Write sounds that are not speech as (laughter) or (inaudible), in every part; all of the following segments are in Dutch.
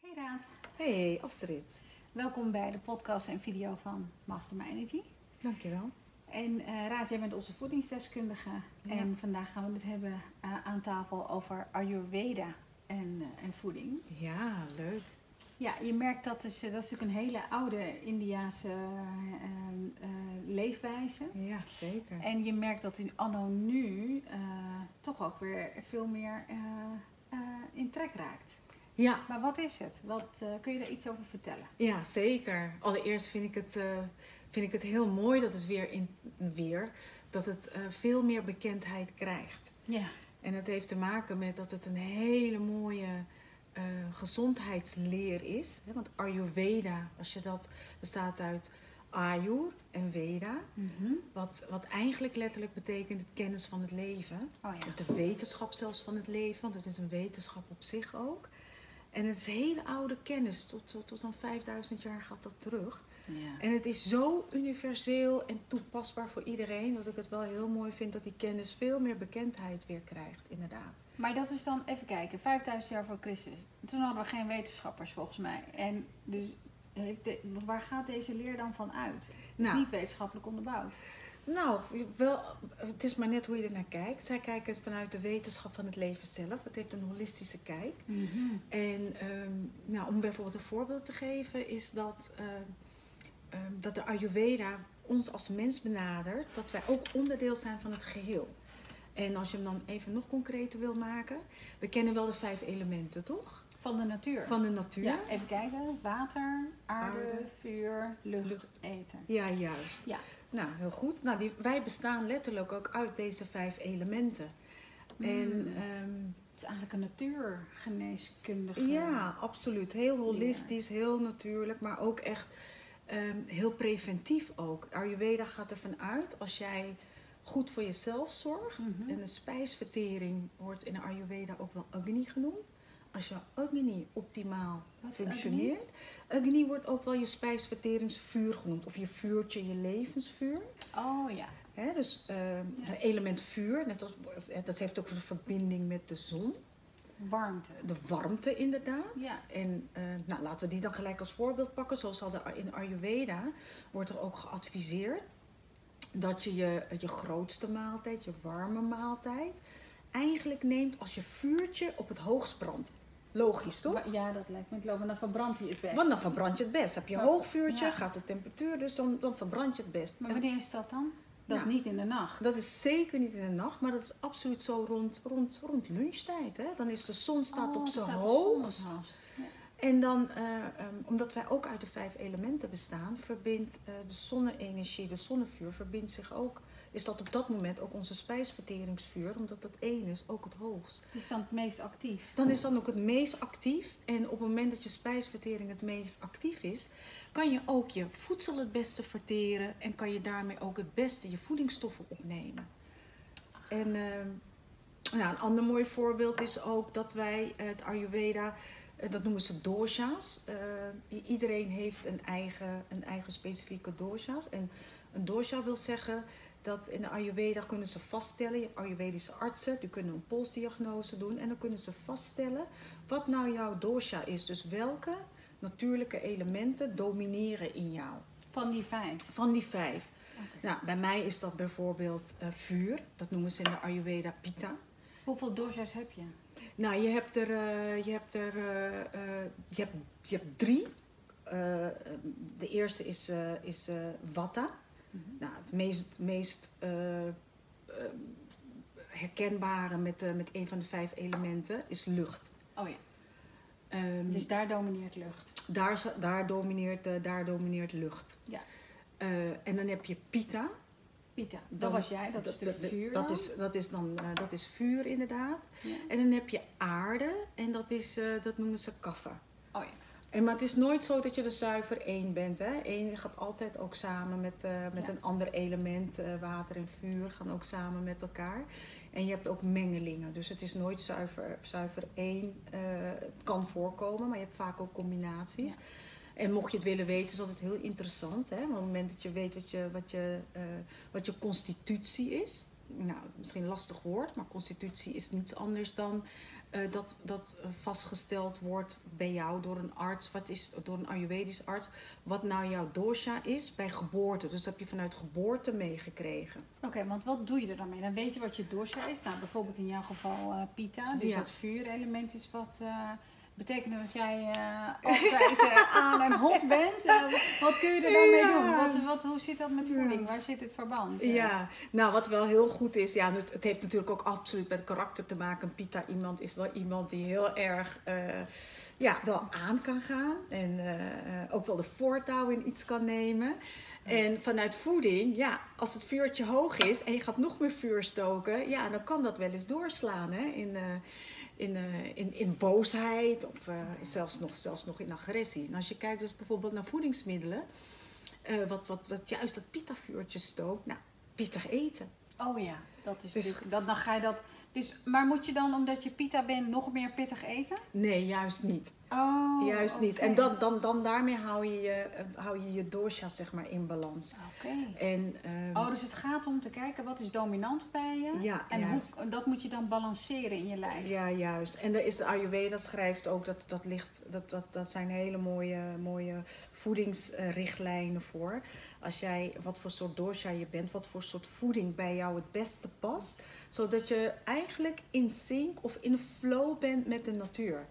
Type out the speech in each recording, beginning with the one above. Hey Raad, Hey Astrid, welkom bij de podcast en video van Master My Energy. dankjewel. En eh, Raad, jij bent onze voedingsdeskundige. Ja. En vandaag gaan we het hebben eh, aan tafel over Ayurveda en, eh, en voeding. Ja, leuk. Ja, je merkt dat is, eh, dat is natuurlijk een hele oude Indiaanse eh, eh, leefwijze. Ja, zeker. En je merkt dat in anno nu eh, toch ook weer veel meer eh, eh, in trek raakt. Ja, Maar wat is het? Wat, eh, kun je daar iets over vertellen? ja zeker. Allereerst vind ik het, eh, vind ik het heel mooi dat het weer, in, weer dat het eh, veel meer bekendheid krijgt. Ja. En het heeft te maken met dat het een hele mooie eh, gezondheidsleer is. Hè? Want Ayurveda, als je dat bestaat uit Ayur en Veda, Mhm. wat, wat eigenlijk letterlijk betekent het kennis van het leven. Oh ja. Of de wetenschap zelfs van het leven, want het is een wetenschap op zich ook. En het is hele oude kennis, tot, tot, tot dan 5000 jaar gaat dat terug. Ja. En het is zo universeel en toepasbaar voor iedereen, dat ik het wel heel mooi vind dat die kennis veel meer bekendheid weer krijgt, inderdaad. Maar dat is dan, even kijken, 5000 jaar voor Christus. Toen hadden we geen wetenschappers volgens mij. En dus, heeft de- waar gaat deze leer dan van uit? Het is Nou. niet wetenschappelijk onderbouwd. Nou, wel, het is maar net hoe je er naar kijkt. Zij kijken het vanuit de wetenschap van het leven zelf. Het heeft een holistische kijk. Mhm. En ehm, nou, om bijvoorbeeld een voorbeeld te geven, is dat, ehm, ehm, dat de Ayurveda ons als mens benadert dat wij ook onderdeel zijn van het geheel. En als je hem dan even nog concreter wil maken, we kennen wel de vijf elementen, toch? Van de natuur. Van de natuur. Ja, even kijken. Water, aarde, Aarde. vuur, lucht, Lucht. eten. Ja, juist. Ja. Nou, heel goed. Nou, die, wij bestaan letterlijk ook uit deze vijf elementen. En Mm. ehm, Het is eigenlijk een natuurgeneeskundige. Ja, absoluut. Heel holistisch, heel natuurlijk, maar ook echt ehm, heel preventief ook. Ayurveda gaat ervan uit, als jij goed voor jezelf zorgt, Mhm. en de spijsvertering wordt in de Ayurveda ook wel Agni genoemd. Als je Agni optimaal Wat is functioneert. Agni? wordt ook wel je spijsverteringsvuur genoemd. Of je vuurtje, je levensvuur. Oh ja. hè dus ehm, Ja. element vuur, net als, dat heeft ook een verbinding met de zon. Warmte. De warmte inderdaad. Ja. En eh, nou, laten we die dan gelijk als voorbeeld pakken. Zoals al de, in Ayurveda wordt er ook geadviseerd dat je, je je grootste maaltijd, je warme maaltijd, eigenlijk neemt als je vuurtje op het hoogst brandt. Logisch toch? Wa- Ja, dat lijkt me het lopen. Dan verbrandt hij het best. Want dan verbrand je het best. Heb je een Wa- hoog vuurtje, ja. gaat de temperatuur, dus dan, dan verbrand je het best. Maar wanneer is dat dan? Dat Ja. is niet in de nacht. Dat is zeker niet in de nacht, maar dat is absoluut zo rond, rond, rond lunchtijd. Hè? Dan is de zon staat Oh, op er zijn staat de zon op hoogst. zijn hoogst. Ja. En dan, eh, ehm, omdat wij ook uit de vijf elementen bestaan, verbindt eh, de zonne-energie, de zonnevuur, verbindt zich ook. Is dat op dat moment ook onze spijsverteringsvuur, omdat dat één is, ook het hoogst. Dus dan het meest actief. Dan is dan ook het meest actief. En op het moment dat je spijsvertering het meest actief is, kan je ook je voedsel het beste verteren en kan je daarmee ook het beste je voedingsstoffen opnemen. En ehm, nou, een ander mooi voorbeeld is ook dat wij eh, het Ayurveda, eh, dat noemen ze dosha's. Eh, i- iedereen heeft een eigen, een eigen specifieke dosha's. En een dosha wil zeggen dat in de Ayurveda kunnen ze vaststellen, je Ayurvedische artsen, die kunnen een polsdiagnose doen en dan kunnen ze vaststellen wat nou jouw dosha is. Dus welke natuurlijke elementen domineren in jou Van die vijf. van die vijf. Oké. Nou, bij mij is dat bijvoorbeeld eh, vuur, dat noemen ze in de Ayurveda Pitta. Hoeveel doshas heb je? Nou, je hebt er, eh, je hebt er eh, eh, je hebt, je hebt drie. Eh, eh, de eerste is, eh is eh, Vata. Nou, het meest, het meest eh, eh, herkenbare met, eh, met een van de vijf elementen is lucht. Oh ja, Ehm, dus daar domineert lucht. daar, is- daar, domineert, eh, daar domineert lucht. Ja. Eh, en dan heb je Pitta. Pita, dat Dan- was jij, dat is de vuur Dat dan? is, dat, is dan, eh, dat is vuur inderdaad. Ja. En dan heb je aarde en dat, is, eh, dat noemen ze kaffa. Oh ja, En, maar het is nooit zo dat je er zuiver één bent. Hè? Eén gaat altijd ook samen met, eh, met Ja. een ander element. Eh, water en vuur gaan ook samen met elkaar. En je hebt ook mengelingen. Dus het is nooit zuiver, zuiver één. eh, het kan voorkomen, maar je hebt vaak ook combinaties. Ja. En mocht je het willen weten, is dat heel interessant. Hè? Want op het moment dat je weet wat je, wat je, eh, wat je constitutie is. Nou, misschien een lastig woord, maar constitutie is niets anders dan eh, dat, dat eh, vastgesteld wordt bij jou door een arts, wat is, door een Ayurvedisch arts, wat nou jouw dosha is bij geboorte. Dus dat heb je vanuit geboorte meegekregen. Oké, want wat doe je er dan mee? Dan weet je wat je dosha is. Nou, bijvoorbeeld in jouw geval eh, Pita. Dus Ja. dat vuurelement is wat... eh, betekent dat jij eh, altijd (laughs) eh, aan en hot bent? Eh, wat kun je er dan mee Ja. doen? Wat, wat, hoe zit dat met Ja. voeding? Waar zit het verband? Eh, Ja, nou wat wel heel goed is, ja, het, het heeft natuurlijk ook absoluut met karakter te maken. Een Pita iemand is wel iemand die heel erg eh, ja, wel aan kan gaan en eh, eh, ook wel de voortouw in iets kan nemen. En vanuit voeding, ja, als het vuurtje hoog is en je gaat nog meer vuur stoken, ja, dan kan dat wel eens doorslaan hè, in, eh, in, eh, in, in boosheid of eh, zelfs, nog, zelfs nog in agressie. En als je kijkt dus bijvoorbeeld naar voedingsmiddelen, eh, wat, wat, wat juist dat pita-vuurtje stookt, nou, pittig eten. Oh ja, dat is Dus- natuurlijk. Dat, dan ga je dat. Dus, maar moet je dan, omdat je pita bent, nog meer pittig eten? Nee, juist niet. Oh, juist niet. oké. En dan, dan, dan daarmee hou je je, eh, hou je, je dosha zeg maar in balans. Oké. En, ehm, Oh, dus het gaat om te kijken wat is dominant bij je. ja, En juist. hoe, dat moet je dan balanceren in je lijf. Ja, juist. En er is de Ayurveda schrijft ook dat dat ligt, dat, dat, dat zijn hele mooie, mooie voedingsrichtlijnen voor. Als jij wat voor soort dosha je bent, wat voor soort voeding bij jou het beste past, zodat je eigenlijk in sync of in flow bent met de natuur.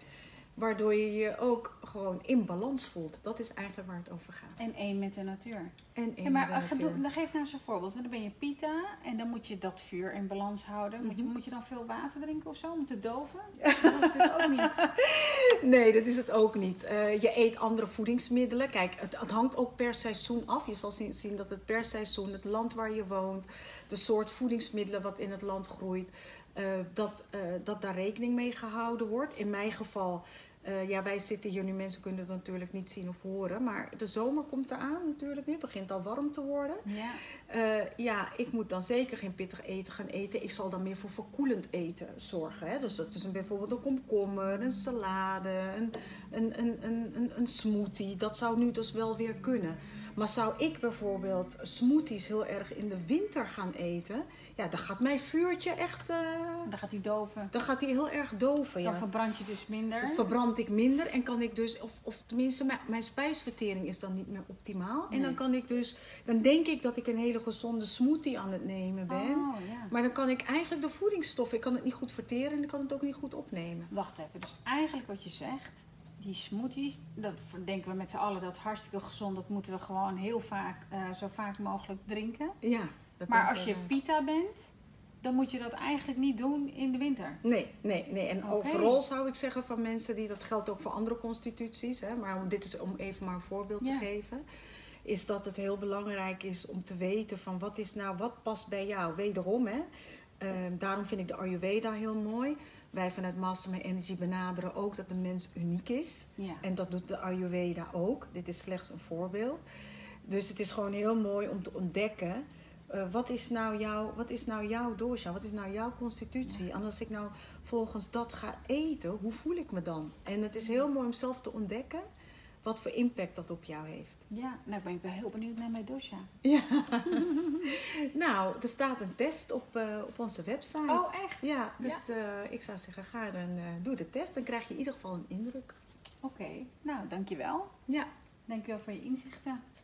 Waardoor je je ook gewoon in balans voelt. Dat is eigenlijk waar het over gaat. En één met de natuur. En in Ja, maar de eh, gedoe- natuur. dan geef nou eens een voorbeeld. Want dan ben je pita en dan moet je dat vuur in balans houden. Moet je, Mhm. moet je dan veel water drinken of zo om te doven? Dat is het ook (laughs) niet. Nee, dat is het ook niet. Eh, je eet andere voedingsmiddelen. Kijk, het, het hangt ook per seizoen af. Je zal zien, zien dat het per seizoen, het land waar je woont, de soort voedingsmiddelen wat in het land groeit, eh, dat, eh, dat daar rekening mee gehouden wordt. In mijn geval, eh, ja, wij zitten hier nu, mensen kunnen dat natuurlijk niet zien of horen, maar de zomer komt eraan natuurlijk nu, het begint al warm te worden. Ja. Eh, ja, ik moet dan zeker geen pittig eten gaan eten. Ik zal dan meer voor verkoelend eten zorgen. Hè? Dus dat is een, bijvoorbeeld een komkommer, een salade, een, een, een, een, een, een smoothie. Dat zou nu dus wel weer kunnen. Maar zou ik bijvoorbeeld smoothies heel erg in de winter gaan eten? Ja, dan gaat mijn vuurtje echt... eh, En dan gaat die doven. dan gaat die heel erg doven. Dan Oh Ja. verbrand je dus minder. Of verbrand ik minder en kan ik dus, of, of tenminste, mijn, mijn spijsvertering is dan niet meer optimaal. En Nee. dan kan ik dus, dan denk ik dat ik een hele gezonde smoothie aan het nemen ben. Oh, ja. Maar dan kan ik eigenlijk de voedingsstoffen, ik kan het niet goed verteren en ik kan het ook niet goed opnemen. Wacht even, dus eigenlijk wat je zegt, die smoothies, dat denken we met z'n allen, dat is hartstikke gezond, dat moeten we gewoon heel vaak, eh, zo vaak mogelijk drinken. Ja. Dat Maar denk als ik je wel. pita bent, dan moet je dat eigenlijk niet doen in de winter. Nee, nee, nee. En Oké. overal zou ik zeggen van mensen die, dat geldt ook voor andere constituties, hè, maar om- dit is om even maar een voorbeeld Ja. te geven, is dat het heel belangrijk is om te weten van wat is nou, wat past bij jou. Wederom, hè. Ehm, daarom vind ik de Ayurveda heel mooi. Wij vanuit Mastermind Energy benaderen ook dat de mens uniek is. Ja. En dat doet de Ayurveda ook. Dit is slechts een voorbeeld. Dus het is gewoon heel mooi om te ontdekken. eh, wat, is nou jouw, wat is nou jouw dosha? Wat is nou jouw constitutie? En als ik nou volgens dat ga eten, hoe voel ik me dan? En het is heel mooi om zelf te ontdekken wat voor impact dat op jou heeft. Ja, nou ben ik wel heel benieuwd naar mijn dosha. Ja. (laughs) nou, er staat een test op, eh, op onze website. Oh, echt? Ja, dus eh, ik zou zeggen, ga en eh, doe de test. Dan krijg je in ieder geval een indruk. Oké, nou dankjewel. Ja. Dankjewel voor je inzichten.